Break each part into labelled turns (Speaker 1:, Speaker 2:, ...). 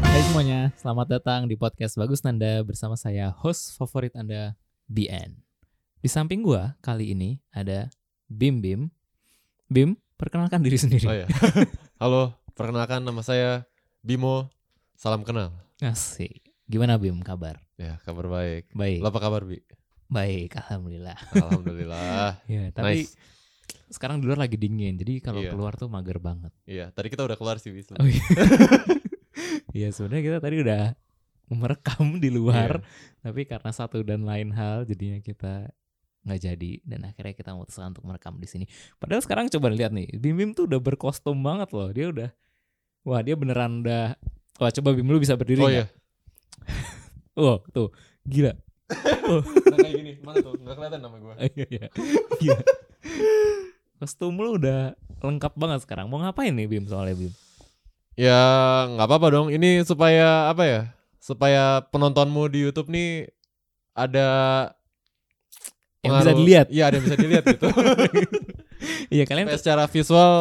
Speaker 1: semuanya, selamat datang di podcast Bagus Nanda bersama saya host favorit Anda BN. Di samping gua kali ini ada Bim Bim. Bim, perkenalkan diri sendiri.
Speaker 2: Oh ya. Halo, perkenalkan nama saya Bimo. Salam kenal.
Speaker 1: Asik. Gimana Bim kabar?
Speaker 2: Ya, kabar baik.
Speaker 1: Baik.
Speaker 2: Lo apa kabar, Bi?
Speaker 1: Baik, alhamdulillah.
Speaker 2: Alhamdulillah.
Speaker 1: Ya, tapi
Speaker 2: Nice.
Speaker 1: sekarang di luar lagi dingin, jadi kalau
Speaker 2: Iya.
Speaker 1: keluar tuh mager banget.
Speaker 2: Iya, tadi kita udah keluar sih, Bi.
Speaker 1: Oh iya. Iya, sebenarnya kita tadi udah merekam di luar,
Speaker 2: Iya.
Speaker 1: tapi karena satu dan lain hal jadinya kita nggak jadi dan akhirnya kita memutuskan untuk merekam di sini. Padahal sekarang coba lihat nih, Bim Bim tuh udah berkostum banget loh. Dia udah wah, dia beneran udah wah coba Bim lu bisa berdiri
Speaker 2: Oh
Speaker 1: nggak?
Speaker 2: iya.
Speaker 1: Wow, tuh gila. Oh,
Speaker 2: Nah, kayak gini. Mana tuh? Enggak kelihatan nama gua.
Speaker 1: iya, iya. Gila. Kostum lu udah lengkap banget sekarang. Mau ngapain nih Bim soalnya Bim?
Speaker 2: Ya, nggak apa-apa dong. Ini supaya apa ya? Supaya penontonmu di YouTube nih ada
Speaker 1: Yang bisa
Speaker 2: pengaruh-
Speaker 1: dilihat.
Speaker 2: Iya, ada yang bisa dilihat gitu.
Speaker 1: Iya kalian
Speaker 2: Supaya secara visual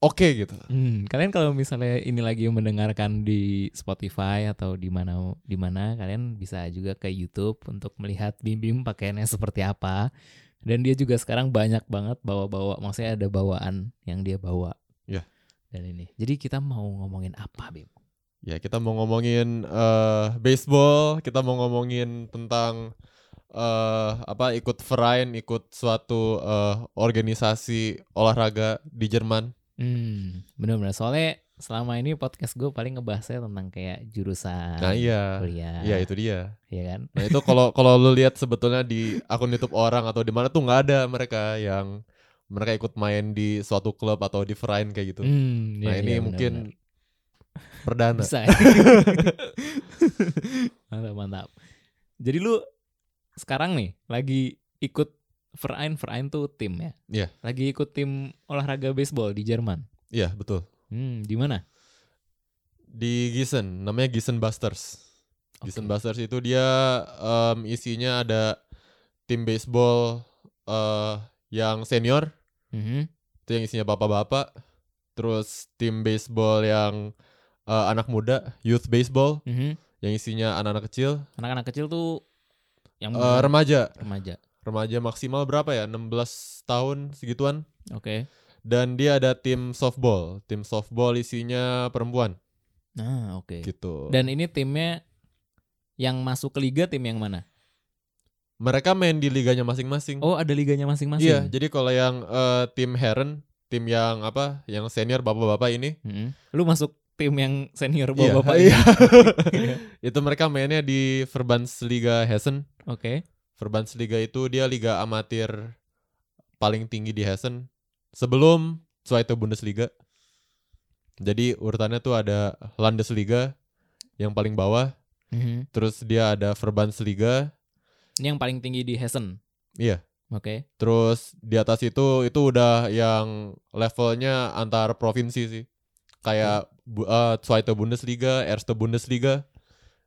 Speaker 2: oke gitu.
Speaker 1: Hmm, kalian kalau misalnya ini lagi mendengarkan di Spotify atau di mana di mana kalian bisa juga ke YouTube untuk melihat Bim Bim pakaiannya seperti apa. Dan dia juga sekarang banyak banget bawa-bawa, maksudnya ada bawaan yang dia bawa.
Speaker 2: Iya.
Speaker 1: Dan ini. Jadi kita mau ngomongin apa, Bim?
Speaker 2: Ya, kita mau ngomongin eh, baseball, kita mau ngomongin tentang eh apa ikut verein, ikut suatu eh, organisasi olahraga di Jerman.
Speaker 1: Hmm, benar-benar soalnya selama ini podcast gue paling ngebahasnya tentang kayak jurusan
Speaker 2: Nah, iya.
Speaker 1: kuliah,
Speaker 2: Iya, itu dia.
Speaker 1: ya kan?
Speaker 2: Nah, itu kalau kalau lu lihat sebetulnya di akun YouTube orang atau di mana tuh nggak ada mereka yang mereka ikut main di suatu klub atau di verein kayak gitu.
Speaker 1: Hmm, iya,
Speaker 2: nah, ini
Speaker 1: iya,
Speaker 2: mungkin
Speaker 1: benar-benar.
Speaker 2: perdana.
Speaker 1: Bisa. ya. mantap, mantap. Jadi lu sekarang nih lagi ikut Verein, Verein tuh tim ya.
Speaker 2: Iya.
Speaker 1: Lagi ikut tim olahraga baseball di Jerman.
Speaker 2: Iya, betul.
Speaker 1: Hmm, di mana?
Speaker 2: Di Gießen, namanya Gießen Busters.
Speaker 1: Oke.
Speaker 2: Jason Busters itu dia em, isinya ada tim baseball eh, yang senior
Speaker 1: Mhm.
Speaker 2: itu yang isinya bapak-bapak, terus tim baseball yang eh, anak muda youth baseball
Speaker 1: Mhm.
Speaker 2: yang isinya anak-anak kecil,
Speaker 1: Anak-anak kecil tuh yang
Speaker 2: Eh, remaja,
Speaker 1: remaja.
Speaker 2: remaja maksimal berapa ya 16 tahun segituan
Speaker 1: Oke.
Speaker 2: dan dia ada tim softball, tim softball isinya perempuan
Speaker 1: Nah, oke.
Speaker 2: gitu.
Speaker 1: Dan ini timnya yang masuk ke liga tim yang mana?
Speaker 2: Mereka main di liganya masing-masing.
Speaker 1: Oh, ada liganya masing-masing.
Speaker 2: Iya, jadi kalau yang eh, tim Heron, tim yang apa, yang senior bapak-bapak ini,
Speaker 1: Mhm. Lu masuk tim yang senior
Speaker 2: Iya,
Speaker 1: bapak-bapak
Speaker 2: iya.
Speaker 1: ini?
Speaker 2: itu mereka mainnya di Verbandsliga Hessen.
Speaker 1: Oke.
Speaker 2: Verbandsliga itu dia liga amatir paling tinggi di Hessen sebelum Zweite Bundesliga. Jadi urutannya tuh ada Landesliga yang paling bawah,
Speaker 1: Mhm.
Speaker 2: terus dia ada Verbandsliga,
Speaker 1: Ini yang paling tinggi di Hessen.
Speaker 2: Iya.
Speaker 1: Oke.
Speaker 2: terus di atas itu itu udah yang levelnya antar provinsi sih. Kayak
Speaker 1: Hmm.
Speaker 2: bu- eh, Zweite Bundesliga, Erste Bundesliga.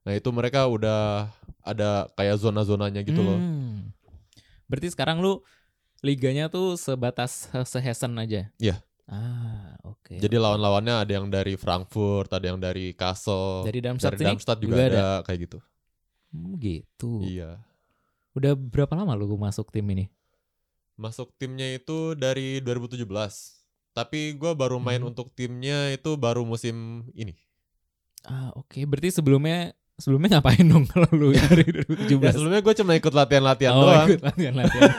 Speaker 2: Nah, itu mereka udah ada kayak zona-zonanya gitu loh.
Speaker 1: Hmm. Berarti sekarang lu liganya tuh sebatas sehesan aja.
Speaker 2: Iya.
Speaker 1: Ah, oke.
Speaker 2: Jadi lawan-lawannya ada yang dari Frankfurt, ada yang dari Kassel,
Speaker 1: dari dalam
Speaker 2: dari
Speaker 1: sini
Speaker 2: Darmstadt juga,
Speaker 1: juga
Speaker 2: ada, kayak gitu.
Speaker 1: Hmm, gitu.
Speaker 2: Iya.
Speaker 1: Udah berapa lama lu masuk tim ini?
Speaker 2: Masuk timnya itu dari 2017. Tapi gua baru main
Speaker 1: Mhm.
Speaker 2: untuk timnya itu baru musim ini.
Speaker 1: Ah, oke. Berarti sebelumnya sebelumnya ngapain dong kalau lu dari
Speaker 2: Ya,
Speaker 1: 2017?
Speaker 2: sebelumnya gua cuma ikut latihan-latihan
Speaker 1: Oh,
Speaker 2: Ya, doang.
Speaker 1: ikut latihan latihan.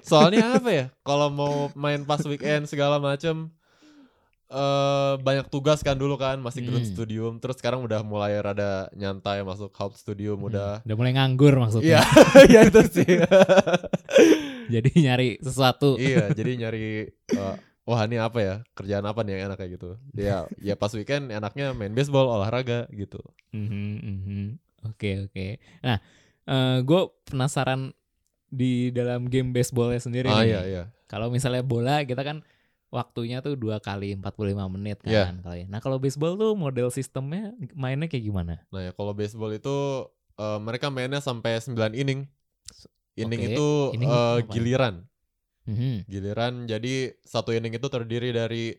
Speaker 2: Soalnya apa ya? Kalau mau main pas weekend segala macem eh banyak tugas kan dulu kan masih ground
Speaker 1: Hmm.
Speaker 2: studium terus sekarang udah mulai rada nyantai masuk Hauptstudium
Speaker 1: Hmm.
Speaker 2: udah
Speaker 1: Udah mulai nganggur
Speaker 2: Iya,
Speaker 1: maksudnya.
Speaker 2: iya itu sih.
Speaker 1: Jadi nyari sesuatu.
Speaker 2: iya jadi nyari eh, wah ini apa ya kerjaan apa nih yang enak kayak gitu ya ya pas weekend enaknya main baseball olahraga gitu
Speaker 1: Mhm, mhm. Oke oke. Nah, gue penasaran di dalam game baseballnya sendiri.
Speaker 2: ah
Speaker 1: nih.
Speaker 2: iya iya
Speaker 1: Kalau misalnya bola kita kan waktunya tuh dua kali 45 menit kan
Speaker 2: Iya.
Speaker 1: kalau ya. Nah kalau baseball tuh model sistemnya mainnya kayak gimana?
Speaker 2: nah ya kalau baseball itu eh, mereka mainnya sampai 9 inning inning
Speaker 1: Oke,
Speaker 2: itu
Speaker 1: inning
Speaker 2: eh,
Speaker 1: apa?
Speaker 2: giliran
Speaker 1: Mhm.
Speaker 2: giliran jadi satu inning itu terdiri dari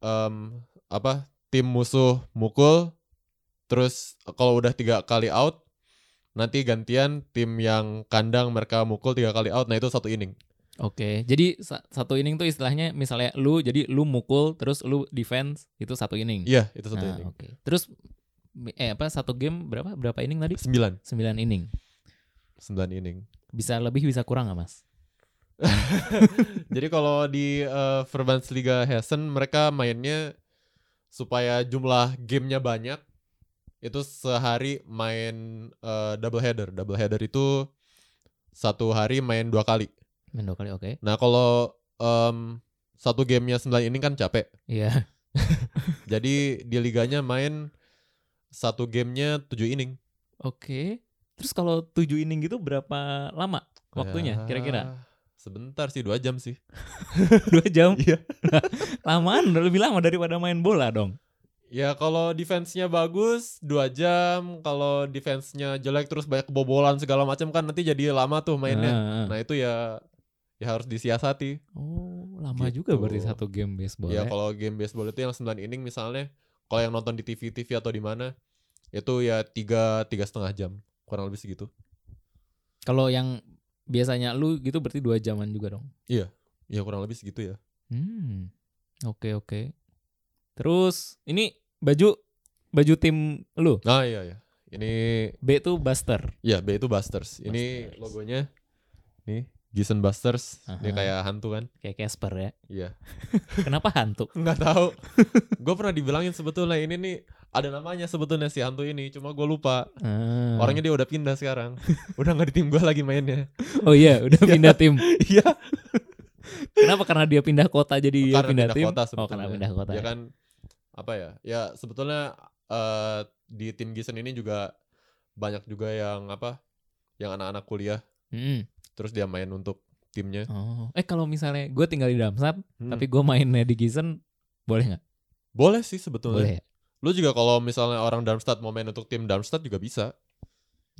Speaker 2: em, apa tim musuh mukul Terus kalau udah tiga kali out, nanti gantian tim yang kandang mereka mukul tiga kali out. Nah itu satu inning.
Speaker 1: Oke, jadi sa- satu inning tuh istilahnya misalnya lu jadi lu mukul terus lu defense itu satu inning.
Speaker 2: Iya itu satu
Speaker 1: nah,
Speaker 2: inning.
Speaker 1: oke. Terus eh apa satu game berapa berapa inning tadi?
Speaker 2: Sembilan,
Speaker 1: 9 inning.
Speaker 2: sembilan inning.
Speaker 1: Bisa lebih bisa kurang nggak Mas?
Speaker 2: Jadi kalau di eh, Verbandsliga Hessen mereka mainnya supaya jumlah gamenya banyak itu sehari main eh, double header. Double header itu satu hari main dua kali.
Speaker 1: Main dua kali oke.
Speaker 2: Nah kalau em, satu gamenya 9 ini kan capek.
Speaker 1: Iya.
Speaker 2: Jadi di liganya main satu gamenya 7 inning.
Speaker 1: Oke. Terus kalau 7 inning gitu berapa lama waktunya
Speaker 2: Ya,
Speaker 1: kira-kira?
Speaker 2: Sebentar sih dua jam sih.
Speaker 1: Dua jam?
Speaker 2: Iya.
Speaker 1: Lamaan udah lebih lama daripada main bola dong.
Speaker 2: Ya kalau defense-nya bagus dua jam, kalau defense-nya jelek terus banyak kebobolan segala macam kan nanti jadi lama tuh mainnya.
Speaker 1: Nah,
Speaker 2: Nah, itu ya ya harus disiasati.
Speaker 1: Oh, lama juga
Speaker 2: Gitu.
Speaker 1: berarti satu game baseball.
Speaker 2: Ya
Speaker 1: Ya,
Speaker 2: kalau game baseball itu yang 9 inning misalnya, kalau yang nonton di TV TV atau di mana itu ya tiga tiga setengah jam kurang lebih segitu.
Speaker 1: Kalau yang biasanya lu gitu berarti dua jaman juga dong.
Speaker 2: Ya kurang lebih segitu ya.
Speaker 1: Hmm. Oke, oke. Terus ini baju baju tim lu
Speaker 2: Nah iya ya. Ini
Speaker 1: B tuh Buster.
Speaker 2: ya B itu Busters. Ini
Speaker 1: Busters.
Speaker 2: logonya nih Jason Busters. Ini
Speaker 1: Aha.
Speaker 2: kayak hantu kan?
Speaker 1: Kayak Casper ya.
Speaker 2: Iya.
Speaker 1: Kenapa hantu?
Speaker 2: Nggak tahu. gue pernah dibilangin sebetulnya ini nih ada namanya sebetulnya si hantu ini. Cuma gue lupa.
Speaker 1: Ah.
Speaker 2: Orangnya dia udah pindah sekarang. udah nggak di tim gue lagi mainnya.
Speaker 1: Oh iya, udah pindah tim.
Speaker 2: Iya.
Speaker 1: Kenapa? Karena dia pindah kota jadi dia
Speaker 2: karena
Speaker 1: pindah, tim.
Speaker 2: kota
Speaker 1: oh,
Speaker 2: sebetulnya.
Speaker 1: karena pindah kota.
Speaker 2: Dia kan apa ya? Ya sebetulnya eh, di tim Jason ini juga banyak juga yang apa? Yang anak-anak kuliah.
Speaker 1: Mm-mm.
Speaker 2: Terus dia main untuk timnya.
Speaker 1: Hmm. Oh. Eh kalau misalnya gue tinggal di Damsap,
Speaker 2: Hmm.
Speaker 1: tapi gue mainnya di Gisen, boleh nggak?
Speaker 2: Boleh sih sebetulnya.
Speaker 1: Boleh ya?
Speaker 2: Lu juga kalau misalnya orang Darmstadt mau main untuk tim Darmstadt juga bisa.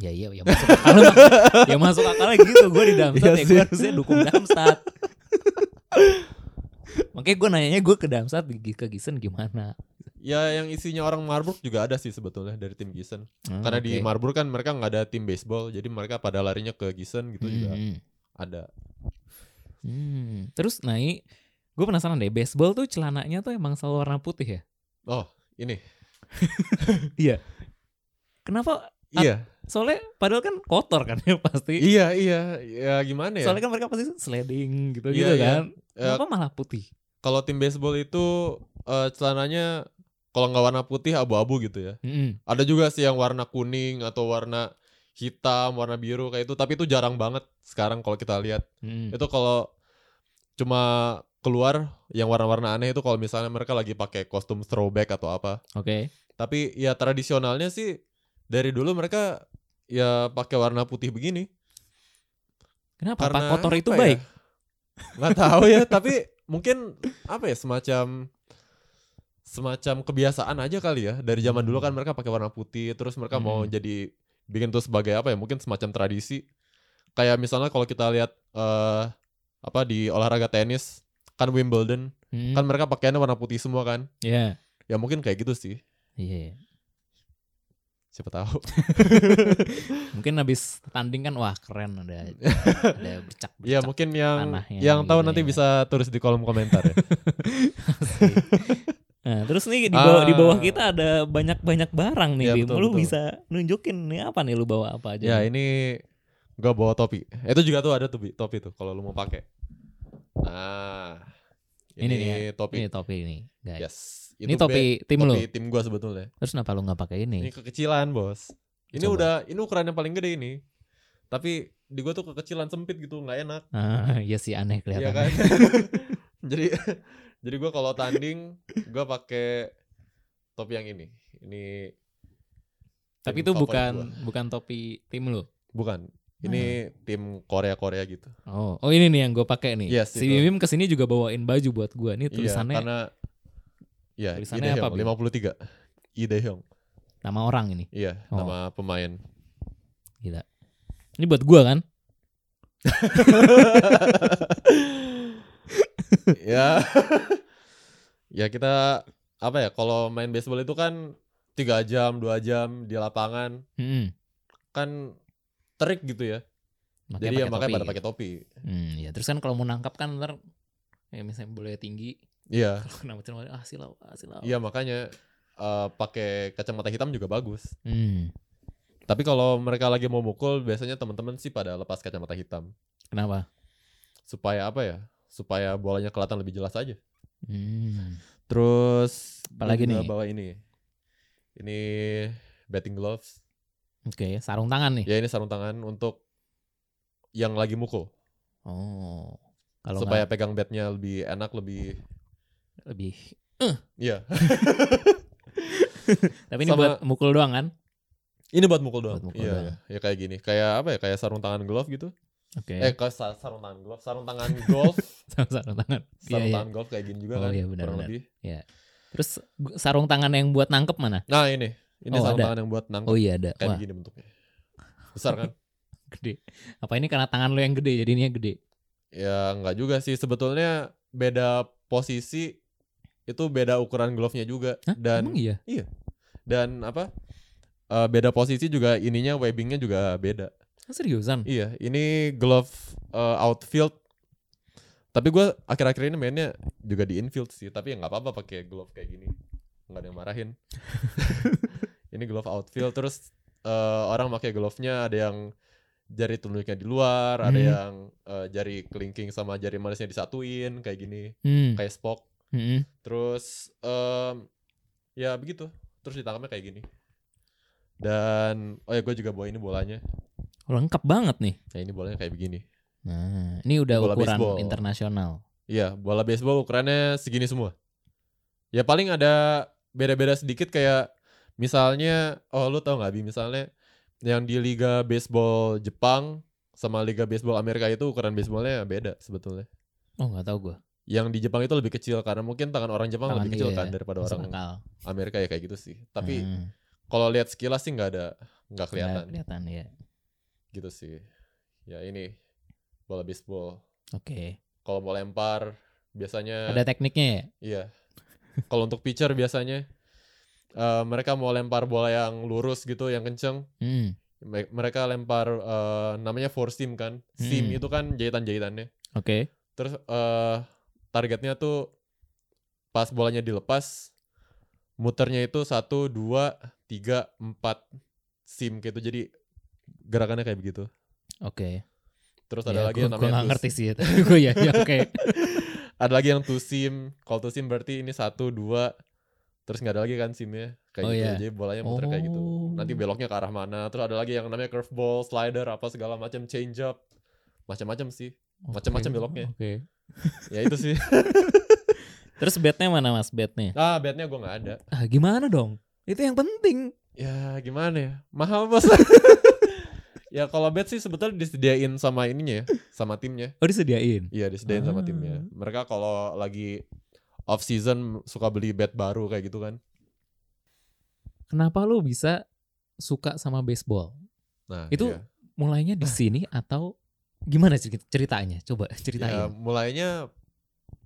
Speaker 1: Ya iya, ya masuk akal lah. ya masuk akal gitu. Gue di Darmstadt
Speaker 2: Iya
Speaker 1: ya
Speaker 2: sih.
Speaker 1: gue harusnya dukung Darmstadt. Makanya gue nanyanya gue ke Darmstadt di- ke Gisen gimana?
Speaker 2: Ya yang isinya orang Marburg juga ada sih sebetulnya dari tim Gießen.
Speaker 1: Hmm,
Speaker 2: Karena di
Speaker 1: oke.
Speaker 2: Marburg kan mereka nggak ada tim baseball, jadi mereka pada larinya ke Gießen gitu juga
Speaker 1: Hmm,
Speaker 2: ada.
Speaker 1: hmm. Terus naik, gue penasaran deh. Baseball tuh celananya tuh emang selalu warna putih ya?
Speaker 2: Oh, ini.
Speaker 1: Kenapa?
Speaker 2: Iya.
Speaker 1: Soalnya padahal kan kotor kan ya pasti.
Speaker 2: Iya, iya. Ya gimana ya?
Speaker 1: Soalnya kan mereka pasti sledding gitu gitu
Speaker 2: Iya, iya.
Speaker 1: kan.
Speaker 2: Eh,
Speaker 1: Kenapa malah putih?
Speaker 2: kalau tim baseball itu eh, celananya kalau nggak warna putih abu-abu gitu ya.
Speaker 1: Mm-mm.
Speaker 2: Ada juga sih yang warna kuning atau warna hitam, warna biru kayak itu, tapi itu jarang banget sekarang kalau kita lihat.
Speaker 1: Mm.
Speaker 2: itu kalau cuma keluar yang warna-warna aneh itu kalau misalnya mereka lagi pakai kostum throwback atau apa
Speaker 1: Oke.
Speaker 2: tapi ya tradisionalnya sih dari dulu mereka ya pakai warna putih begini
Speaker 1: Kenapa? Pak
Speaker 2: Karena
Speaker 1: kotor itu
Speaker 2: apa ya?
Speaker 1: baik.
Speaker 2: nggak tahu ya tapi mungkin apa ya semacam semacam kebiasaan aja kali ya dari zaman dulu kan mereka pakai warna putih terus mereka mau
Speaker 1: Hmm.
Speaker 2: jadi bikin itu sebagai apa ya mungkin semacam tradisi kayak misalnya kalau kita lihat eh apa di olahraga tenis kan Wimbledon
Speaker 1: Mm.
Speaker 2: kan mereka pakaiannya warna putih semua kan
Speaker 1: Iya.
Speaker 2: ya mungkin kayak gitu sih
Speaker 1: Iya.
Speaker 2: siapa tahu
Speaker 1: Mungkin habis tanding kan wah keren ada ada bercak
Speaker 2: ya
Speaker 1: bercak
Speaker 2: mungkin yang
Speaker 1: tanahnya
Speaker 2: yang tahu
Speaker 1: gitu
Speaker 2: nanti
Speaker 1: ya.
Speaker 2: bisa tulis di kolom komentar ya
Speaker 1: sih. Nah, terus nih di bawah,
Speaker 2: Ah.
Speaker 1: di bawah kita ada banyak-banyak barang nih.
Speaker 2: Iya,
Speaker 1: Bim.
Speaker 2: betul,
Speaker 1: lu
Speaker 2: betul.
Speaker 1: bisa nunjukin nih apa nih lu bawa apa aja.
Speaker 2: ya
Speaker 1: nih?
Speaker 2: ini gua bawa topi Eh, itu juga tuh ada topi topi tuh kalau lu mau pakai nah
Speaker 1: Ini
Speaker 2: ini,
Speaker 1: nih ya.
Speaker 2: topi
Speaker 1: Ini topi nih, guys.
Speaker 2: yes
Speaker 1: ini
Speaker 2: Itu
Speaker 1: topi
Speaker 2: be-
Speaker 1: tim lu.
Speaker 2: topi tim gua sebetulnya
Speaker 1: Terus kenapa lu nggak pakai ini?
Speaker 2: ini kekecilan bos ini
Speaker 1: Coba.
Speaker 2: udah ini ukuran yang paling gede ini tapi di gua tuh kekecilan sempit gitu nggak enak
Speaker 1: Ah, ya sih aneh
Speaker 2: Iya
Speaker 1: kelihatannya.
Speaker 2: kan? jadi jadi gue kalau tanding gue pakai topi yang ini. Ini
Speaker 1: Tapi
Speaker 2: tim
Speaker 1: itu
Speaker 2: favorit
Speaker 1: bukan
Speaker 2: gua.
Speaker 1: bukan topi tim lu.
Speaker 2: bukan. Ini tim Korea Korea gitu.
Speaker 1: Oh, oh ini nih yang gue pakai nih.
Speaker 2: Yes,
Speaker 1: si
Speaker 2: itu.
Speaker 1: Bim Bim kesini juga bawain baju buat gue. Nih
Speaker 2: Iya,
Speaker 1: tulisannya
Speaker 2: karena Iya,
Speaker 1: tulisannya apa, Bi?
Speaker 2: lima puluh tiga. Ide Hyung.
Speaker 1: nama orang ini.
Speaker 2: Iya,
Speaker 1: Oh.
Speaker 2: nama pemain.
Speaker 1: Gila. Ini buat gue kan?
Speaker 2: ya. ya kita apa ya? Kalau main baseball itu kan tiga jam dua jam di lapangan
Speaker 1: Mm-mm.
Speaker 2: kan terik gitu ya
Speaker 1: Makanya
Speaker 2: jadi ya
Speaker 1: pakai topi
Speaker 2: makanya pada
Speaker 1: gitu.
Speaker 2: pakai topi
Speaker 1: Hmm, ya terus kan kalau mau nangkap kan ntar ya misalnya boleh tinggi
Speaker 2: iya
Speaker 1: kalau kena macam ah silau ah silau.
Speaker 2: iya makanya eh, pakai kacamata hitam juga bagus
Speaker 1: Hmm,
Speaker 2: tapi kalau mereka lagi mau mukul biasanya teman-teman sih pada lepas kacamata hitam
Speaker 1: kenapa?
Speaker 2: supaya apa ya supaya bolanya kelihatan lebih jelas aja
Speaker 1: Hmm.
Speaker 2: terus
Speaker 1: Apalagi nih?
Speaker 2: gua bawa ini ini batting gloves
Speaker 1: Oke, sarung tangan nih.
Speaker 2: ya ini sarung tangan untuk yang lagi mukul
Speaker 1: Oh. Kalau
Speaker 2: supaya
Speaker 1: supaya
Speaker 2: pegang batnya lebih enak lebih
Speaker 1: lebih.
Speaker 2: Iya,
Speaker 1: Tapi ini
Speaker 2: Sama-
Speaker 1: buat mukul doang kan?
Speaker 2: ini buat mukul doang.
Speaker 1: Buat mukul doang.
Speaker 2: Iya, ya kayak gini, kayak apa ya? Kayak sarung tangan glove gitu.
Speaker 1: Oke.
Speaker 2: Eh, kayak sa- sarung tangan glove, sarung tangan golf,
Speaker 1: Sama sarung tangan. Iya,
Speaker 2: sarung
Speaker 1: iya.
Speaker 2: tangan golf kayak gini juga
Speaker 1: Oh,
Speaker 2: kan,
Speaker 1: iya, benar,
Speaker 2: kurang
Speaker 1: benar.
Speaker 2: lebih.
Speaker 1: Terus gu- sarung tangan yang buat nangkep mana?
Speaker 2: Nah ini, ini
Speaker 1: Oh,
Speaker 2: sarung
Speaker 1: ada.
Speaker 2: tangan yang buat nangkep
Speaker 1: Oh iya ada.
Speaker 2: kayak gitu.
Speaker 1: Wah,
Speaker 2: begini bentuknya. Besar kan?
Speaker 1: gede. Apa ini karena tangan lo yang gede jadi ini gede?
Speaker 2: ya nggak juga sih sebetulnya beda posisi itu beda ukuran glove-nya juga
Speaker 1: Hah?
Speaker 2: dan
Speaker 1: Emang iya.
Speaker 2: dan apa? eh, beda posisi juga ininya webbingnya juga beda.
Speaker 1: Ah, Seriusan?
Speaker 2: Iya, ini glove uh, outfield. Tapi gue akhir-akhir ini mainnya juga di infield sih. Tapi ya nggak apa-apa pakai glove kayak gini. Nggak ada yang marahin. ini glove outfield. Terus uh, orang pakai glove-nya ada yang jari telunjuknya di luar, ada
Speaker 1: Hmm.
Speaker 2: yang uh, jari kelingking sama jari manisnya disatuin kayak gini,
Speaker 1: Hmm.
Speaker 2: kayak spock.
Speaker 1: Mm-mm.
Speaker 2: Terus em, ya begitu. Terus ditangkapnya kayak gini. Dan oh ya gue juga bawa ini bolanya.
Speaker 1: Oh, Lengkap banget nih.
Speaker 2: Nah ini bolanya kayak begini.
Speaker 1: Nah, ini udah
Speaker 2: Bola
Speaker 1: ukuran
Speaker 2: baseball.
Speaker 1: internasional.
Speaker 2: Iya, bola baseball ukurannya segini semua. Ya paling ada beda-beda sedikit kayak misalnya, oh lu tau nggak bi, misalnya yang di liga baseball Jepang sama liga baseball Amerika itu ukuran baseballnya beda sebetulnya.
Speaker 1: Oh nggak tahu gue.
Speaker 2: Yang di Jepang itu lebih kecil karena mungkin tangan orang Jepang
Speaker 1: Tangan
Speaker 2: lebih kecil
Speaker 1: iya,
Speaker 2: kan daripada
Speaker 1: Masuk
Speaker 2: orang
Speaker 1: akal.
Speaker 2: Amerika ya kayak gitu sih. Tapi
Speaker 1: Hmm,
Speaker 2: kalau lihat sekilas sih nggak ada nggak
Speaker 1: nggak
Speaker 2: kelihatan
Speaker 1: kelihatan ya.
Speaker 2: gitu sih. Ya ini bola baseball.
Speaker 1: Oke.
Speaker 2: Kalau mau lempar biasanya
Speaker 1: Ada tekniknya ya.
Speaker 2: Iya. Kalau untuk pitcher biasanya eh, mereka mau lempar bola yang lurus gitu, yang kenceng.
Speaker 1: Hmm.
Speaker 2: Me- Mereka lempar eh, namanya four seam kan. Seam
Speaker 1: Hmm.
Speaker 2: itu kan jahitan-jahitannya.
Speaker 1: Oke.
Speaker 2: Terus eh, targetnya tuh pas bolanya dilepas, muternya itu satu, dua, tiga, empat seam gitu. Jadi gerakannya kayak begitu.
Speaker 1: Oke.
Speaker 2: Terus ada lagi yang
Speaker 1: gue
Speaker 2: namanya
Speaker 1: Iya, nggak
Speaker 2: two-
Speaker 1: ngerti sih. gue ya, ya oke.
Speaker 2: ada lagi yang two seam. Kalau two seam berarti ini satu, dua, terus nggak ada lagi kan seamnya kayak
Speaker 1: Oh,
Speaker 2: gitu.
Speaker 1: iya.
Speaker 2: Jadi bolanya muter kayak gitu.
Speaker 1: Oh.
Speaker 2: Nanti beloknya ke arah mana. Terus ada lagi yang namanya curveball, slider, apa segala macam, change up, macam-macam sih.
Speaker 1: Oke.
Speaker 2: macam-macam beloknya.
Speaker 1: Oke.
Speaker 2: Ya itu sih.
Speaker 1: Terus bednya mana mas bednya?
Speaker 2: Ah, bednya gue nggak ada.
Speaker 1: Ah gimana dong? Itu yang penting.
Speaker 2: Ya gimana ya, mahal bos. ya kalau bet sih sebetulnya disediain sama ininya, ya, sama timnya.
Speaker 1: Oh disediain.
Speaker 2: Iya disediain
Speaker 1: Ah.
Speaker 2: sama timnya. Mereka kalau lagi off season suka beli bet baru kayak gitu kan.
Speaker 1: Kenapa lu bisa suka sama baseball?
Speaker 2: Nah
Speaker 1: Itu
Speaker 2: iya.
Speaker 1: Mulainya di sini atau gimana cerit- ceritanya? Coba
Speaker 2: Ya,
Speaker 1: ceritain.
Speaker 2: mulainya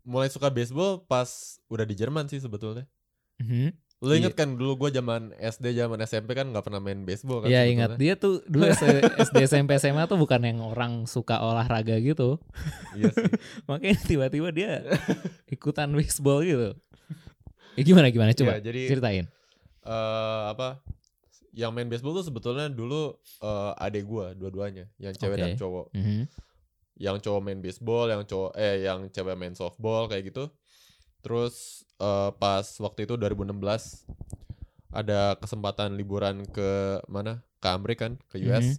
Speaker 2: mulai suka baseball pas udah di Jerman sih sebetulnya.
Speaker 1: Mhm.
Speaker 2: Lu
Speaker 1: Iya.
Speaker 2: inget kan dulu gua zaman SD, zaman SMP kan nggak pernah main baseball kan?
Speaker 1: Ya
Speaker 2: sebetulnya.
Speaker 1: ingat dia tuh dulu S- SD SMP SMA tuh bukan yang orang suka olahraga gitu.
Speaker 2: Iya sih.
Speaker 1: Makanya tiba-tiba dia ikutan baseball gitu. Ya gimana gimana
Speaker 2: Coba.
Speaker 1: coba
Speaker 2: Iya, jadi
Speaker 1: ceritain.
Speaker 2: eh, apa? Yang main baseball tuh sebetulnya dulu eh, adek gua dua-duanya, yang cewek
Speaker 1: Oke.
Speaker 2: dan cowok.
Speaker 1: Mhm.
Speaker 2: Yang cowok main baseball, yang cowok eh yang cewek main softball kayak gitu. Terus eh, pas waktu itu 2016 ada kesempatan liburan ke mana? Ke Amerika kan, ke
Speaker 1: Mhm.
Speaker 2: US.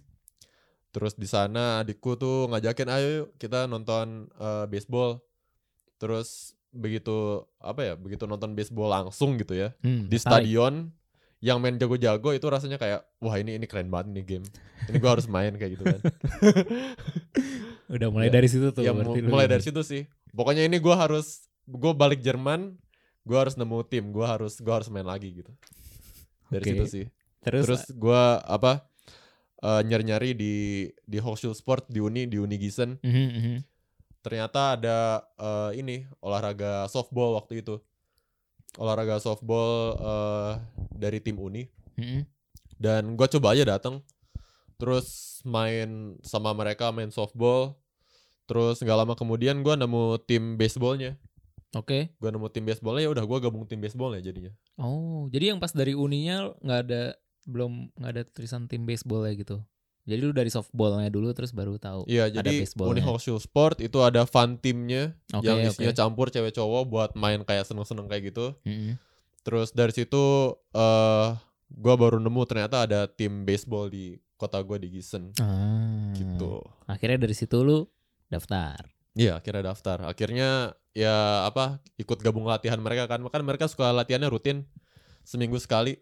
Speaker 2: Terus di sana adikku tuh ngajakin ayo yuk kita nonton eh, baseball. Terus begitu apa ya? Begitu nonton baseball langsung gitu ya
Speaker 1: Hmm,
Speaker 2: di
Speaker 1: tertarik.
Speaker 2: stadion yang main jago-jago itu rasanya kayak wah ini ini keren banget nih game. Ini gua harus main kayak gitu kan.
Speaker 1: Udah mulai
Speaker 2: Ya,
Speaker 1: dari situ tuh.
Speaker 2: ya mu-
Speaker 1: berarti lu
Speaker 2: mulai
Speaker 1: ini.
Speaker 2: dari situ sih. Pokoknya ini gua harus gua balik Jerman, gua harus nemu tim, gua harus gua harus main lagi gitu. Dari
Speaker 1: Oke.
Speaker 2: situ sih.
Speaker 1: Terus,
Speaker 2: Terus gua apa eh, nyari-nyari di di Hochschul Sport di Uni di Uni Gießen
Speaker 1: mhm, mhm.
Speaker 2: ternyata ada eh, ini olahraga softball waktu itu olahraga softball eh, dari tim uni
Speaker 1: mhm.
Speaker 3: Mm-mm.
Speaker 2: dan gue coba aja datang terus main sama mereka main softball terus nggak lama kemudian gue nemu tim baseballnya
Speaker 1: Oke.
Speaker 2: gue nemu tim baseballnya ya udah gue gabung tim baseballnya jadinya
Speaker 1: Oh, jadi yang pas dari uninya nggak ada belum nggak ada tulisan tim baseball ya gitu. Jadi lu dari softballnya dulu terus baru tahu.
Speaker 2: iya
Speaker 1: Ada
Speaker 2: jadi
Speaker 1: baseballnya.
Speaker 2: uni Hochschule sport itu ada fun timnya
Speaker 1: Oke,
Speaker 2: yang
Speaker 1: oke.
Speaker 2: isinya campur cewek cowok buat main kayak seneng seneng kayak gitu
Speaker 1: Mm-mm.
Speaker 2: terus dari situ eh gue baru nemu ternyata ada tim baseball di kota gue di Gießen
Speaker 1: Ah.
Speaker 2: gitu
Speaker 1: Akhirnya dari situ lu daftar.
Speaker 2: Iya akhirnya daftar. Akhirnya ya apa ikut gabung latihan mereka kan. Kan mereka suka latihannya rutin seminggu sekali.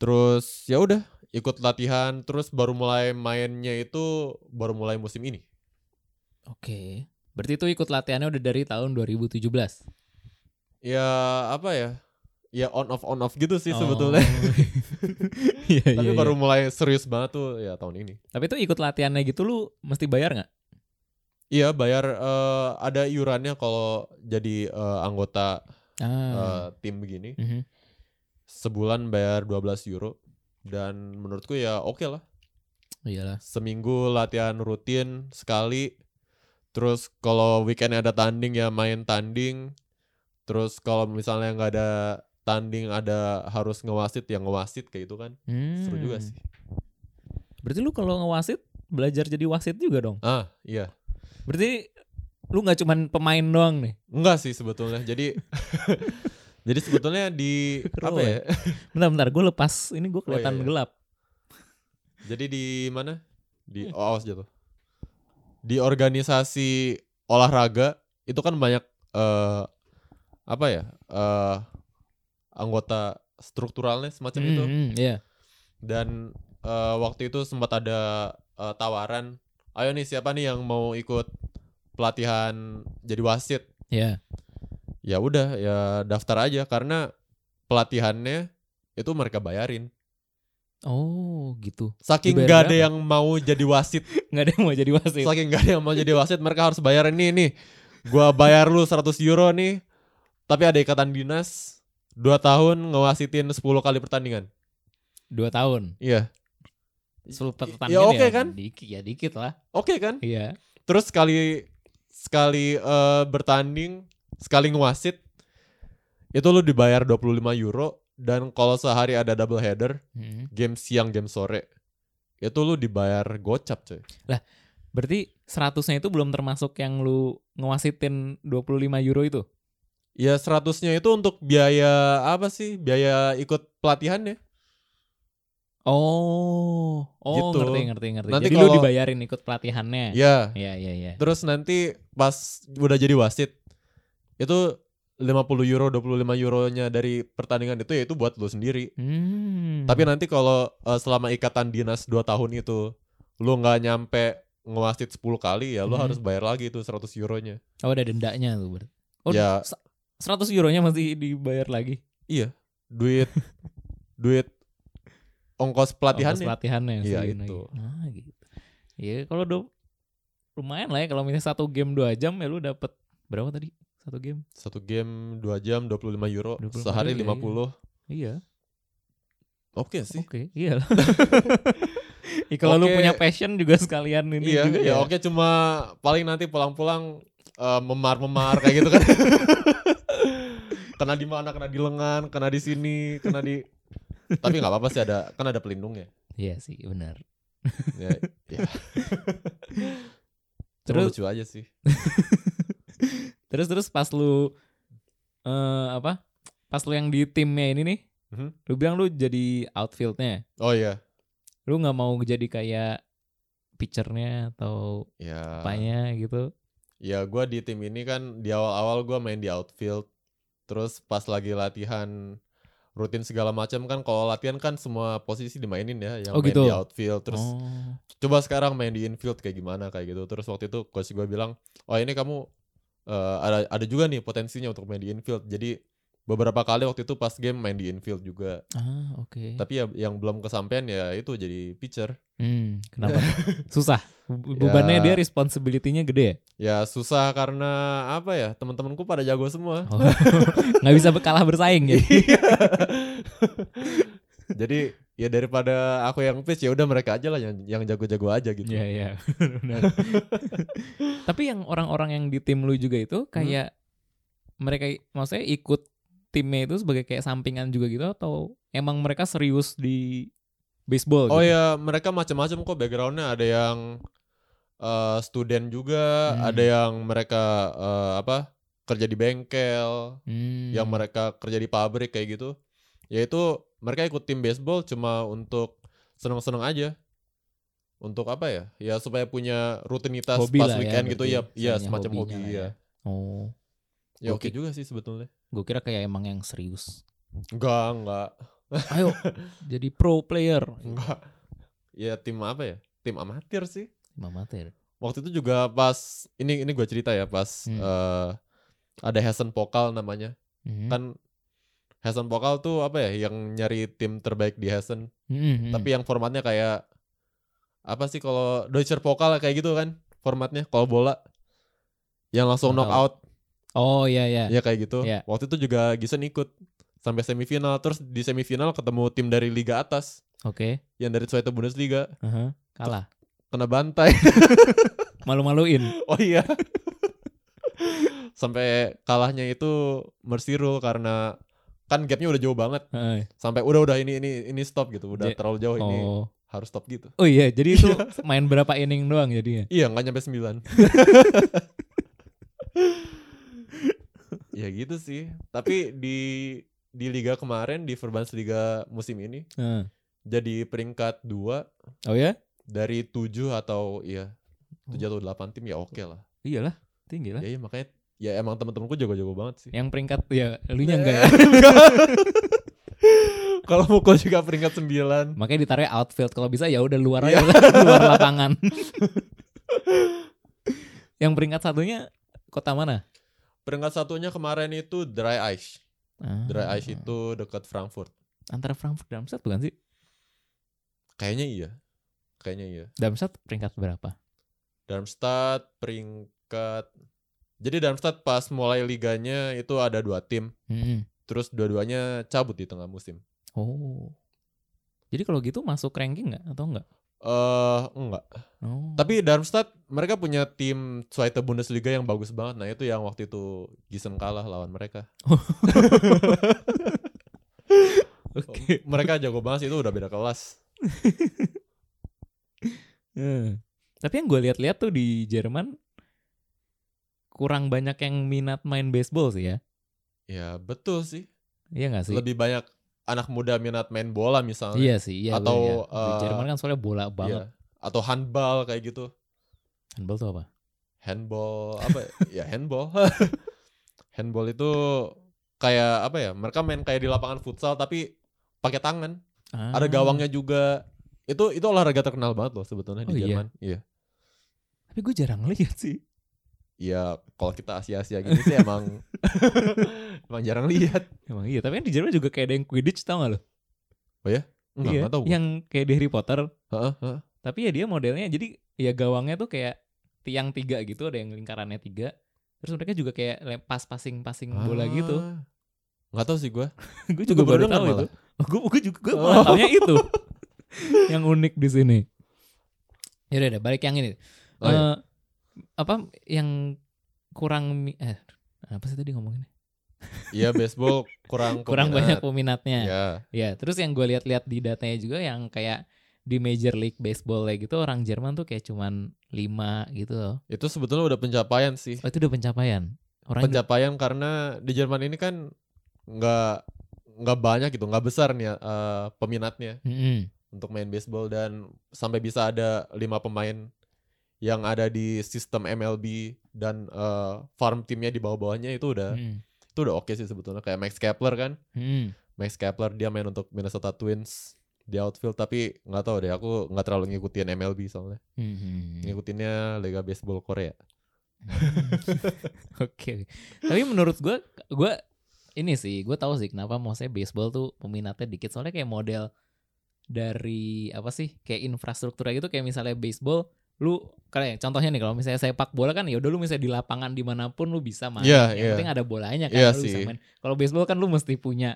Speaker 2: Terus ya udah ikut latihan terus baru mulai mainnya itu baru mulai musim ini.
Speaker 1: Oke. Berarti itu ikut latihannya udah dari tahun 2017.
Speaker 2: Ya apa ya? Ya on off on off gitu sih
Speaker 1: Oh.
Speaker 2: sebetulnya.
Speaker 1: Iya,
Speaker 2: Tapi
Speaker 1: iya,
Speaker 2: baru
Speaker 1: iya.
Speaker 2: mulai serius banget tuh ya tahun ini.
Speaker 1: Tapi itu ikut latihannya gitu lu mesti bayar nggak?
Speaker 2: Iya bayar eh, ada iurannya kalau jadi eh, anggota eh,
Speaker 1: Ah.
Speaker 2: tim begini.
Speaker 1: Mhm.
Speaker 2: Sebulan bayar 12 euro dan menurutku ya oke lah.
Speaker 1: Oh, Iyalah.
Speaker 2: seminggu latihan rutin sekali terus kalau weekend ada tanding ya main tanding terus kalau misalnya nggak ada tanding ada harus ngewasit ya ngewasit kayak gitu kan seru juga
Speaker 1: Hmm.
Speaker 2: sih
Speaker 1: Berarti lu kalau ngewasit belajar jadi wasit juga dong.
Speaker 2: ah iya
Speaker 1: Berarti lu nggak cuman pemain doang nih.
Speaker 2: enggak sih sebetulnya jadi jadi sebetulnya di apa
Speaker 1: Role.
Speaker 2: ya
Speaker 1: Bentar bentar gue lepas ini gue kelihatan
Speaker 2: iya, iya.
Speaker 1: gelap.
Speaker 2: jadi di mana di
Speaker 1: Iya.
Speaker 2: oh, awas jatuh di organisasi olahraga itu kan banyak eh apa ya eh anggota strukturalnya semacam itu
Speaker 1: Hmm, iya.
Speaker 2: dan eh, waktu itu sempat ada eh, tawaran ayo nih siapa nih yang mau ikut pelatihan jadi wasit
Speaker 1: Iya.
Speaker 2: ya udah ya daftar aja karena pelatihannya itu mereka bayarin
Speaker 1: Oh, gitu.
Speaker 2: saking
Speaker 1: Dibayar
Speaker 2: gak
Speaker 1: berapa?
Speaker 2: ada yang mau jadi wasit
Speaker 1: Nggak ada yang mau jadi wasit.
Speaker 2: saking gak ada yang mau jadi wasit mereka harus bayar ini nih gua bayar lu 100 euro nih tapi ada ikatan dinas dua tahun ngewasitin 10 kali pertandingan
Speaker 1: Dua tahun.
Speaker 2: iya
Speaker 1: Sepuluh pertandingan
Speaker 2: Ya, oke kan?
Speaker 1: Dikit ya dikit lah.
Speaker 2: oke kan
Speaker 1: Iya.
Speaker 2: terus sekali sekali eh, bertanding sekali ngewasit itu lu dibayar 25 euro dan kalau sehari ada double header
Speaker 1: Hmm.
Speaker 2: game siang game sore itu lu dibayar gocap coy
Speaker 1: Berarti seratusnya itu belum termasuk yang lu ngewasitin 25 euro itu.
Speaker 2: ya seratusnya itu untuk biaya apa sih biaya ikut pelatihan ya
Speaker 1: Oh, oh
Speaker 2: Gitu.
Speaker 1: ngerti ngerti ngerti.
Speaker 2: Nanti
Speaker 1: Jadi lu
Speaker 2: kalau-
Speaker 1: dibayarin ikut pelatihannya.
Speaker 2: ya
Speaker 1: Iya iya iya.
Speaker 2: Terus nanti pas udah jadi wasit itu 50 euro 25 euronya dari pertandingan itu ya itu buat lu sendiri.
Speaker 1: Hmm.
Speaker 2: Tapi nanti kalau eh, selama ikatan dinas 2 tahun itu lu nggak nyampe ngewasit 10 kali ya lu
Speaker 1: Hmm.
Speaker 2: harus bayar lagi itu 100 euronya.
Speaker 1: oh ada dendanya tuh berarti. Oh,
Speaker 2: Ya.
Speaker 1: se- 100 euronya masih dibayar lagi.
Speaker 2: Duit duit ongkos pelatihan
Speaker 1: Ongkos Oh, pelatihannya
Speaker 2: Iya,
Speaker 1: segini
Speaker 2: itu.
Speaker 1: lagi. Nah, gitu. Iya, kalau do lumayan lah ya kalau misalnya satu game dua jam ya lu dapat berapa tadi? Satu game.
Speaker 2: satu game 2 jam 25 euro
Speaker 1: 25
Speaker 2: sehari
Speaker 1: euro,
Speaker 2: 50.
Speaker 1: iya, Iya.
Speaker 2: Oke sih.
Speaker 1: Oke, iya lah. Ya, kalau lu
Speaker 2: Oke.
Speaker 1: punya passion juga sekalian ini
Speaker 2: Iya,
Speaker 1: juga ya.
Speaker 2: ya oke cuma paling nanti pulang-pulang eh, memar-memar kayak gitu kan. kena di mana, kena di lengan, kena di sini, kena di Tapi nggak apa-apa sih ada kan ada pelindungnya.
Speaker 3: Iya sih, benar.
Speaker 2: Ya, ya. Cuma
Speaker 1: Terus-
Speaker 2: lucu aja sih.
Speaker 1: Terus terus pas lu eh apa? Pas lu yang di timnya ini nih,
Speaker 2: Mhm.
Speaker 1: lu bilang lu jadi outfieldnya. ya?
Speaker 2: Oh iya,
Speaker 1: Lu nggak mau jadi kayak pitchernya atau
Speaker 2: ya.
Speaker 1: apanya gitu.
Speaker 2: Ya gua di tim ini kan di awal-awal gua main di outfield. Terus pas lagi latihan rutin segala macam kan kalau latihan kan semua posisi dimainin ya yang
Speaker 1: Oh,
Speaker 2: main
Speaker 1: gitu.
Speaker 2: di outfield terus
Speaker 1: Oh.
Speaker 2: coba sekarang main di infield kayak gimana kayak gitu terus waktu itu coach gue bilang oh ini kamu eh, ada ada juga nih potensinya untuk main di infield jadi beberapa kali waktu itu pas game main di infield juga.
Speaker 4: Ah, oke.
Speaker 2: Tapi ya yang belum kesampaian ya itu jadi pitcher.
Speaker 1: Hmm, kenapa? Susah. Bu- Bebannya
Speaker 2: Ya.
Speaker 1: dia responsibility-nya gede ya?
Speaker 2: Ya susah karena apa ya? Teman-temanku pada jago semua.
Speaker 1: Oh. Nggak bisa kalah bersaing ya?
Speaker 2: jadi ya daripada aku yang pitch ya udah mereka aja lah yang yang jago-jago aja gitu.
Speaker 1: Iya, iya. Benar. Tapi yang orang-orang yang di tim lu juga itu kayak mereka maksudnya ikut timnya itu sebagai kayak sampingan juga gitu atau emang mereka serius di baseball
Speaker 2: Oh
Speaker 1: gitu?
Speaker 2: ya, mereka macam-macam kok backgroundnya. Ada yang eh student juga,
Speaker 1: Hmm.
Speaker 2: ada yang mereka eh, apa kerja di bengkel,
Speaker 1: Hmm.
Speaker 2: yang mereka kerja di pabrik kayak gitu. Yaitu mereka ikut tim baseball cuma untuk seneng-seneng aja. Untuk apa ya? Ya supaya punya rutinitas
Speaker 1: Hobi
Speaker 2: pas
Speaker 1: lah ya,
Speaker 2: weekend gitu
Speaker 1: berarti.
Speaker 2: ya, ya
Speaker 4: Hanya
Speaker 2: semacam
Speaker 4: hobinya
Speaker 2: hobi
Speaker 4: lah
Speaker 2: ya.
Speaker 1: Oh.
Speaker 2: Ya oke
Speaker 4: Oke.
Speaker 2: juga sih sebetulnya.
Speaker 4: Gue kira kayak emang yang serius.
Speaker 2: Enggak, enggak,
Speaker 1: Ayo jadi pro player.
Speaker 2: enggak. Ya tim apa ya? Tim amatir sih.
Speaker 4: Mamater.
Speaker 2: waktu itu juga pas ini ini gue cerita ya pas
Speaker 1: Hmm.
Speaker 2: eh, ada Hasan Pokal namanya
Speaker 1: Hmm.
Speaker 2: kan Hasan Pokal tuh apa ya yang nyari tim terbaik di Hasan
Speaker 1: Hmm, hmm.
Speaker 2: tapi yang formatnya kayak apa sih kalau Deutscher Pokal kayak gitu kan formatnya kalau bola yang langsung
Speaker 1: Nggak tahu.
Speaker 2: knockout
Speaker 1: Oh iya iya.
Speaker 2: ya kayak gitu
Speaker 1: Iya.
Speaker 2: waktu itu juga Gisen ikut sampai semifinal terus di semifinal ketemu tim dari liga atas
Speaker 1: Oke.
Speaker 2: yang dari Zweite Bundesliga
Speaker 1: Aha. Kalah.
Speaker 2: kena bantai
Speaker 1: Malu-maluin.
Speaker 2: Oh iya. Sampai kalahnya itu Mercy Rule karena kan gapnya udah jauh banget.
Speaker 1: Heeh.
Speaker 2: Sampai udah udah ini ini ini stop gitu. Udah
Speaker 1: Ja-
Speaker 2: terlalu jauh ini
Speaker 1: Eh, Oh.
Speaker 2: harus stop gitu.
Speaker 1: Oh iya, jadi itu main berapa inning doang jadinya.
Speaker 2: Iya nggak nyampe 9 ya gitu sih. Tapi di di liga kemarin di Liga musim ini
Speaker 1: Heeh.
Speaker 2: jadi peringkat 2
Speaker 1: Oh ya?
Speaker 2: iya? dari 7 atau iya 7 atau 8 tim ya oke lah.
Speaker 1: Iyalah, tinggi lah.
Speaker 2: Ya, iya makanya ya emang temen-temenku jago-jago banget sih.
Speaker 1: Yang peringkat ya lu nya enggak ya.
Speaker 2: Kalau mukul juga peringkat 9
Speaker 1: Makanya ditaruh outfield kalau bisa ya udah luar aja
Speaker 2: Iya.
Speaker 1: luar lapangan. yang peringkat satunya kota mana?
Speaker 2: Peringkat satunya kemarin itu Dry Ice Dry Ice itu dekat Frankfurt
Speaker 1: Ah, antara Frankfurt Darmstadt bukan sih?
Speaker 2: Kayaknya iya Kayaknya iya
Speaker 1: Darmstadt peringkat berapa?
Speaker 2: Darmstadt peringkat Jadi Darmstadt pas mulai liganya itu ada dua tim
Speaker 1: Hmm.
Speaker 2: Terus dua-duanya cabut di tengah musim
Speaker 1: Oh. Jadi kalau gitu masuk ranking nggak atau enggak?
Speaker 2: Eh enggak
Speaker 1: Oh.
Speaker 2: Tapi Darmstadt mereka punya tim Zweite Bundesliga yang bagus banget Nah itu yang waktu itu Gisen kalah lawan mereka
Speaker 1: Oke.
Speaker 2: Mereka jago banget sih itu udah beda kelas
Speaker 1: Eh, Tapi yang gue lihat-lihat tuh di Jerman kurang banyak yang minat main baseball sih ya.
Speaker 2: Ya betul sih
Speaker 1: Iya nggak sih?
Speaker 2: lebih banyak anak muda minat main bola misalnya
Speaker 1: Iya sih, iya. bener ya.
Speaker 2: Atau,
Speaker 1: di
Speaker 2: eh,
Speaker 1: Jerman kan soalnya bola
Speaker 2: Iya.
Speaker 1: banget.
Speaker 2: atau handball kayak gitu
Speaker 1: Handball tuh apa?
Speaker 2: handball apa ya handball handball itu kayak apa ya mereka main kayak di lapangan futsal tapi pakai tangan ada
Speaker 1: Ah,
Speaker 2: gawangnya juga itu itu olahraga terkenal banget loh sebetulnya
Speaker 1: Oh,
Speaker 2: di
Speaker 1: iya.
Speaker 2: Jerman iya
Speaker 1: Tapi gue jarang lihat sih.
Speaker 2: iya kalau kita Asia Asia gitu sih emang emang jarang lihat
Speaker 1: Emang iya, tapi kan di Jerman juga kayak ada yang Quidditch tau gak lo?
Speaker 2: enggak
Speaker 1: iya,
Speaker 2: enggak tahu
Speaker 1: yang kayak di Harry Potter.
Speaker 2: Heeh, heeh.
Speaker 1: Tapi ya dia modelnya jadi ya gawangnya tuh kayak tiang tiga gitu, ada yang lingkarannya tiga. Terus mereka juga kayak lem- pas passing passing bola gitu.
Speaker 2: Ah. nggak tahu sih gue
Speaker 1: gue juga
Speaker 2: gua
Speaker 1: baru
Speaker 2: baru dengar
Speaker 1: tahu itu.
Speaker 2: malah.
Speaker 1: Gue gue juga gue
Speaker 2: Oh.
Speaker 1: malah taunya itu. yang unik di sini. Ya udah, balik yang ini.
Speaker 2: Oh, iya.
Speaker 1: Eh, apa yang kurang mi- eh apa sih tadi ngomongin?
Speaker 2: Iya baseball kurang
Speaker 1: kurang banyak
Speaker 2: peminat.
Speaker 1: peminatnya. Ya.
Speaker 2: Ya.
Speaker 1: terus yang gue lihat-lihat di datanya juga yang kayak di Major League Baseball ya gitu orang Jerman tuh kayak cuman 5 gitu loh.
Speaker 2: Ya, Itu sebetulnya udah pencapaian sih.
Speaker 1: Oh, itu udah pencapaian. Orang
Speaker 2: Pencapaian karena di Jerman ini kan nggak nggak banyak gitu, nggak besar nih eh, peminatnya
Speaker 1: Mm-mm.
Speaker 2: untuk main baseball dan sampai bisa ada lima pemain yang ada di sistem MLB dan eh, farm timnya di bawah-bawahnya itu udah
Speaker 1: Mm.
Speaker 2: itu udah oke sih sebetulnya kayak Max Kepler kan
Speaker 1: Mm.
Speaker 2: Max Kepler dia main untuk Minnesota Twins di outfield tapi nggak tahu deh aku nggak terlalu ngikutin MLB soalnya
Speaker 1: Mm.
Speaker 2: ngikutinnya Liga Baseball Korea
Speaker 1: Oke. Tapi menurut gue gue ini sih gue tahu sih kenapa maksudnya baseball tuh peminatnya dikit soalnya kayak model dari apa sih kayak infrastrukturnya gitu kayak misalnya baseball lu kayak contohnya nih kalau misalnya sepak bola kan ya udah lu misalnya di lapangan dimanapun lu bisa main
Speaker 2: Iya,
Speaker 1: yang
Speaker 2: iya.
Speaker 1: penting ada bolanya kan
Speaker 2: Iya
Speaker 1: lu bisa
Speaker 2: sih.
Speaker 1: main kalau baseball kan lu mesti punya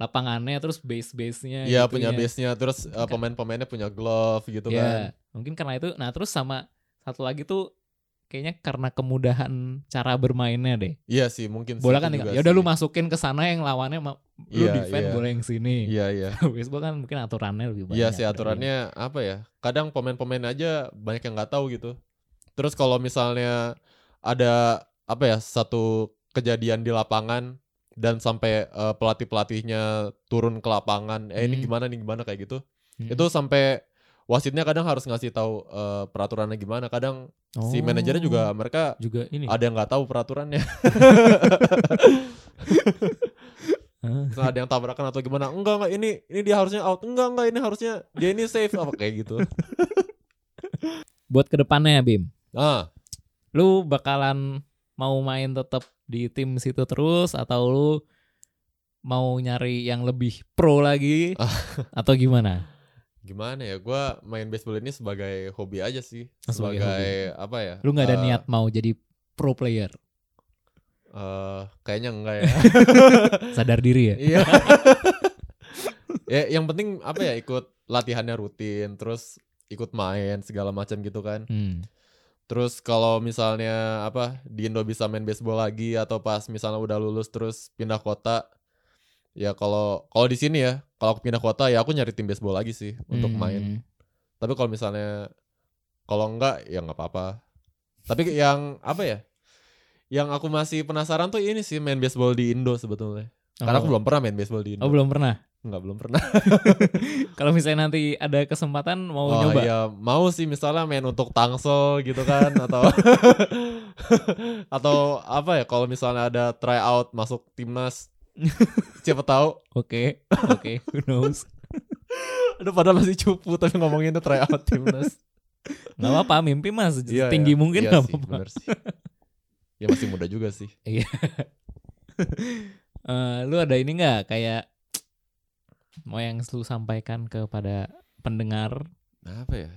Speaker 1: lapangannya terus gitu base base nya
Speaker 2: Iya punya base-nya terus uh,
Speaker 1: Kan-
Speaker 2: pemain-pemainnya punya glove gitu
Speaker 1: ya
Speaker 2: kan.
Speaker 1: mungkin karena itu nah terus sama satu lagi tuh kayaknya karena kemudahan cara bermainnya deh
Speaker 2: Iya sih mungkin
Speaker 1: bola
Speaker 2: sih,
Speaker 1: kan tinggal
Speaker 2: itu juga
Speaker 1: ya udah
Speaker 2: sih.
Speaker 1: lu masukin ke sana yang lawannya ma- lu
Speaker 2: Iya,
Speaker 1: defend
Speaker 2: iya.
Speaker 1: bola yang sini
Speaker 2: Iya iya.
Speaker 1: baseball kan mungkin aturannya lebih banyak gitu.
Speaker 2: Iya sih aturannya apa ya? Kadang pemain-pemain aja banyak yang nggak tahu gitu. Terus kalau misalnya ada apa ya satu kejadian di lapangan dan sampai eh, pelatih-pelatihnya turun ke lapangan, eh ini
Speaker 1: Hmm.
Speaker 2: gimana nih gimana kayak gitu.
Speaker 1: Hmm.
Speaker 2: Itu sampai wasitnya kadang harus ngasih tahu eh, peraturannya gimana. Kadang si manajernya juga mereka
Speaker 1: Oh. juga ini
Speaker 2: ada yang nggak tahu peraturannya.
Speaker 1: Hah?
Speaker 2: Misalnya ada yang tabrakan atau gimana? Enggak enggak ini ini dia harusnya out. Enggak enggak ini harusnya dia ini safe apa kayak gitu.
Speaker 1: buat kedepannya Bim
Speaker 2: Ah,
Speaker 1: lu bakalan mau main tetap di tim situ terus atau lu mau nyari yang lebih pro lagi atau gimana
Speaker 2: gimana ya gua main baseball ini sebagai hobi aja sih
Speaker 1: Oh, sebagai
Speaker 2: sebagai, apa ya
Speaker 1: lu nggak ada
Speaker 2: eh,
Speaker 1: niat mau jadi pro player
Speaker 2: eh, kayaknya enggak ya
Speaker 1: sadar diri ya
Speaker 2: iya ya yang penting apa ya ikut latihannya rutin terus ikut main segala macam gitu kan
Speaker 1: Hmm.
Speaker 2: terus kalau misalnya apa di Indo bisa main baseball lagi atau pas misalnya udah lulus terus pindah kota ya kalau kalau di sini ya kalau aku pindah kota ya aku nyari tim baseball lagi sih untuk
Speaker 1: Hmm.
Speaker 2: main Tapi kalau misalnya kalau enggak ya nggak apa-apa. Tapi yang apa ya? Yang aku masih penasaran tuh ini sih main baseball di Indo sebetulnya. Karena
Speaker 1: Oh.
Speaker 2: aku belum pernah main baseball di Indo.
Speaker 1: oh belum pernah
Speaker 2: Enggak, belum pernah.
Speaker 1: kalau misalnya nanti ada kesempatan mau
Speaker 2: Oh,
Speaker 1: nyoba
Speaker 2: iya, mau sih misalnya main untuk Tangsel gitu kan atau atau apa ya kalau misalnya ada tryout masuk timnas siapa tahu
Speaker 1: Oke, oke, who knows.
Speaker 2: aduh padahal masih cupu tapi ngomonginnya tryout timnas
Speaker 1: Gak apa-apa, mimpi mas
Speaker 2: Iya,
Speaker 1: tinggi
Speaker 2: iya.
Speaker 1: mungkin
Speaker 2: Iya
Speaker 1: gak
Speaker 2: sih,
Speaker 1: apa-apa.
Speaker 2: bener sih. ya masih muda juga sih
Speaker 1: Eh, lu ada ini gak kayak mau yang lu sampaikan kepada pendengar?
Speaker 2: apa ya?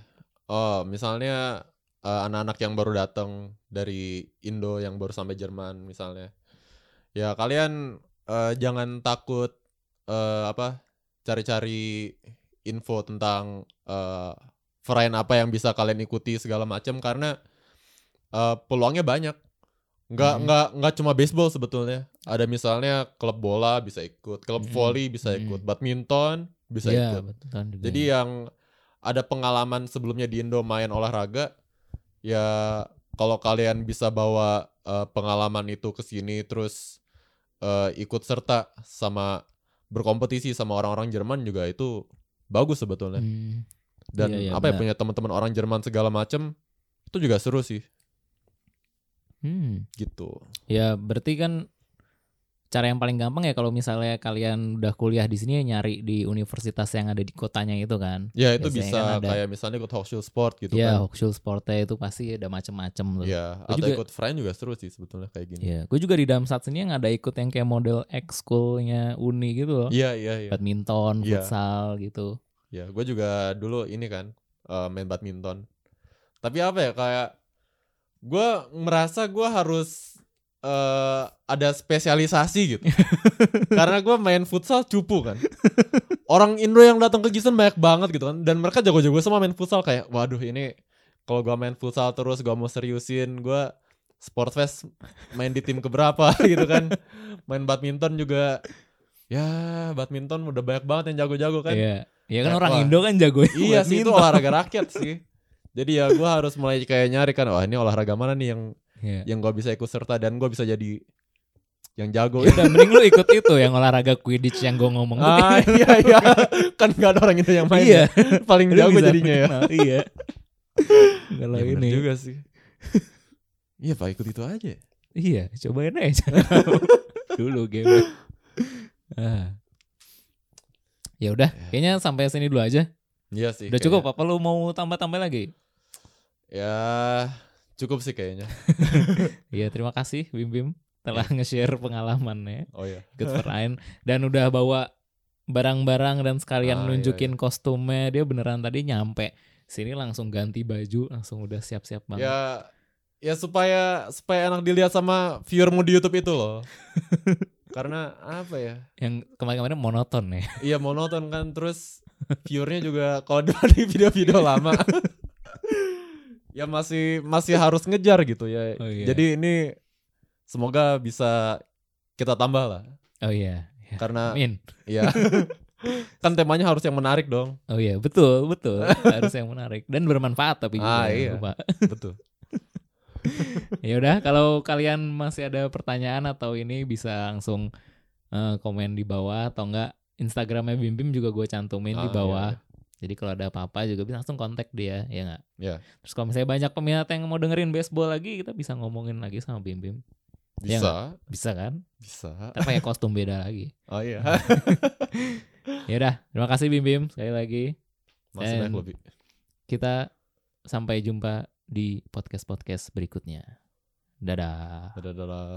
Speaker 2: Oh, misalnya eh, anak-anak yang baru datang dari Indo yang baru sampai Jerman misalnya. Ya kalian eh, jangan takut eh, apa cari-cari info tentang eh varian apa yang bisa kalian ikuti segala macam karena eh, peluangnya banyak. Nggak
Speaker 1: Mhm.
Speaker 2: nggak nggak cuma baseball sebetulnya. Ada misalnya klub bola bisa ikut, klub
Speaker 1: Mhm.
Speaker 2: volley bisa
Speaker 1: Mhm.
Speaker 2: ikut, badminton bisa
Speaker 1: Iya,
Speaker 2: ikut.
Speaker 1: betul kan juga.
Speaker 2: Jadi ya, yang ada pengalaman sebelumnya di Indo main olahraga, ya kalau kalian bisa bawa eh, pengalaman itu ke sini terus eh, ikut serta sama berkompetisi sama orang-orang Jerman juga itu bagus sebetulnya.
Speaker 1: Hmm.
Speaker 2: Dan
Speaker 1: iya, iya,
Speaker 2: apa ya
Speaker 1: benar.
Speaker 2: punya teman-teman orang Jerman segala macem itu juga seru sih
Speaker 1: Hmm.
Speaker 2: gitu.
Speaker 1: Ya, berarti kan cara yang paling gampang ya kalau misalnya kalian udah kuliah di sini ya nyari di universitas yang ada di kotanya itu kan.
Speaker 2: Ya itu
Speaker 1: Biasanya
Speaker 2: bisa
Speaker 1: kan ada-
Speaker 2: kayak misalnya ikut Hochschul Sport gitu
Speaker 1: ya,
Speaker 2: kan.
Speaker 1: Hochschul Sportnya itu pasti ada macem-macem loh.
Speaker 2: Ya,
Speaker 1: Gua
Speaker 2: atau
Speaker 1: juga-
Speaker 2: ikut friend juga seru sih sebetulnya kayak gini.
Speaker 1: Iya, gue juga di Damsat sini yang ada ikut yang kayak model ekskulnya Uni gitu loh.
Speaker 2: Iya, iya, iya.
Speaker 1: Badminton,
Speaker 2: Iya.
Speaker 1: futsal gitu.
Speaker 2: Ya, gue juga dulu ini kan eh, main badminton. Tapi apa ya kayak gue merasa gue harus eh ada spesialisasi gitu. Karena gue main futsal cupu kan. Orang Indo yang datang ke Gisen banyak banget gitu kan. Dan mereka jago-jago semua main futsal kayak, waduh ini kalau gue main futsal terus gue mau seriusin gue sport fest main di tim keberapa gitu kan. Main badminton juga. Ya badminton udah banyak banget yang jago-jago kan
Speaker 1: Iya. Ya kan
Speaker 2: Kayak,
Speaker 1: orang
Speaker 2: wah.
Speaker 1: Indo kan jago
Speaker 2: iya sih itu olahraga rakyat sih jadi ya gue harus mulai kayak nyari kan wah ini olahraga mana nih yang
Speaker 1: Iya.
Speaker 2: yang gue bisa ikut serta dan gue bisa jadi yang jago
Speaker 1: Ya udah mending lu ikut itu yang olahraga Quidditch yang gue ngomong. tuh.
Speaker 2: ah iya iya kan gak ada orang itu yang main
Speaker 1: Iya.
Speaker 2: ya. paling
Speaker 1: Lu
Speaker 2: jago
Speaker 1: bisa
Speaker 2: jadinya ya
Speaker 1: mengenal, Iya. Kalau
Speaker 2: Ya, bener
Speaker 1: ini.
Speaker 2: juga sih iya pak ikut itu aja
Speaker 1: Iya, cobain aja. dulu game. Ah. Ya udah, kayaknya sampai sini dulu aja.
Speaker 2: iya sih
Speaker 1: Udah cukup, apa lu mau tambah-tambah lagi?
Speaker 2: ya cukup sih kayaknya
Speaker 1: Iya, terima kasih Bim Bim. telah nge-share pengalamannya
Speaker 2: Oh iya.
Speaker 1: good for Ryan. dan udah bawa barang-barang dan sekalian
Speaker 2: Ah, iya,
Speaker 1: nunjukin kostumnya dia beneran tadi nyampe sini langsung ganti baju langsung udah siap-siap banget
Speaker 2: Ya ya supaya supaya enak dilihat sama viewermu di YouTube itu loh. Karena apa ya?
Speaker 1: yang kemarin-kemarin monoton ya
Speaker 2: Iya monoton kan terus viewernya juga kalau di video-video lama ya masih masih harus ngejar gitu ya.
Speaker 1: Oh, iya.
Speaker 2: Jadi ini semoga bisa kita tambah lah
Speaker 1: oh iya ya.
Speaker 2: karena
Speaker 1: Amin.
Speaker 2: ya kan temanya harus yang menarik dong.
Speaker 1: Oh iya, betul, betul. Harus yang menarik dan bermanfaat tapi
Speaker 2: Ah,
Speaker 1: juga, ya,
Speaker 2: iya.
Speaker 1: lupa.
Speaker 2: Betul.
Speaker 1: Ya udah, kalau kalian masih ada pertanyaan atau ini bisa langsung eh, komen di bawah atau enggak Instagramnya Bim Bim juga gue cantumin di
Speaker 2: Ah,
Speaker 1: bawah. Jadi kalau ada apa-apa juga bisa langsung kontak dia, ya enggak?
Speaker 2: Iya.
Speaker 1: Terus kalau misalnya banyak peminat yang mau dengerin baseball lagi, kita bisa ngomongin lagi sama Bim Bim. Iya
Speaker 2: Bisa,
Speaker 1: Bisa kan?
Speaker 2: bisa.
Speaker 1: Ntar pakai kostum beda lagi.
Speaker 2: Oh iya.
Speaker 1: Ya udah, terima kasih Bim Bim sekali lagi.
Speaker 2: Masih
Speaker 1: And-
Speaker 2: banyak lebih.
Speaker 1: Kita sampai jumpa di podcast-podcast berikutnya. Dadah.
Speaker 2: Dadah-dadah.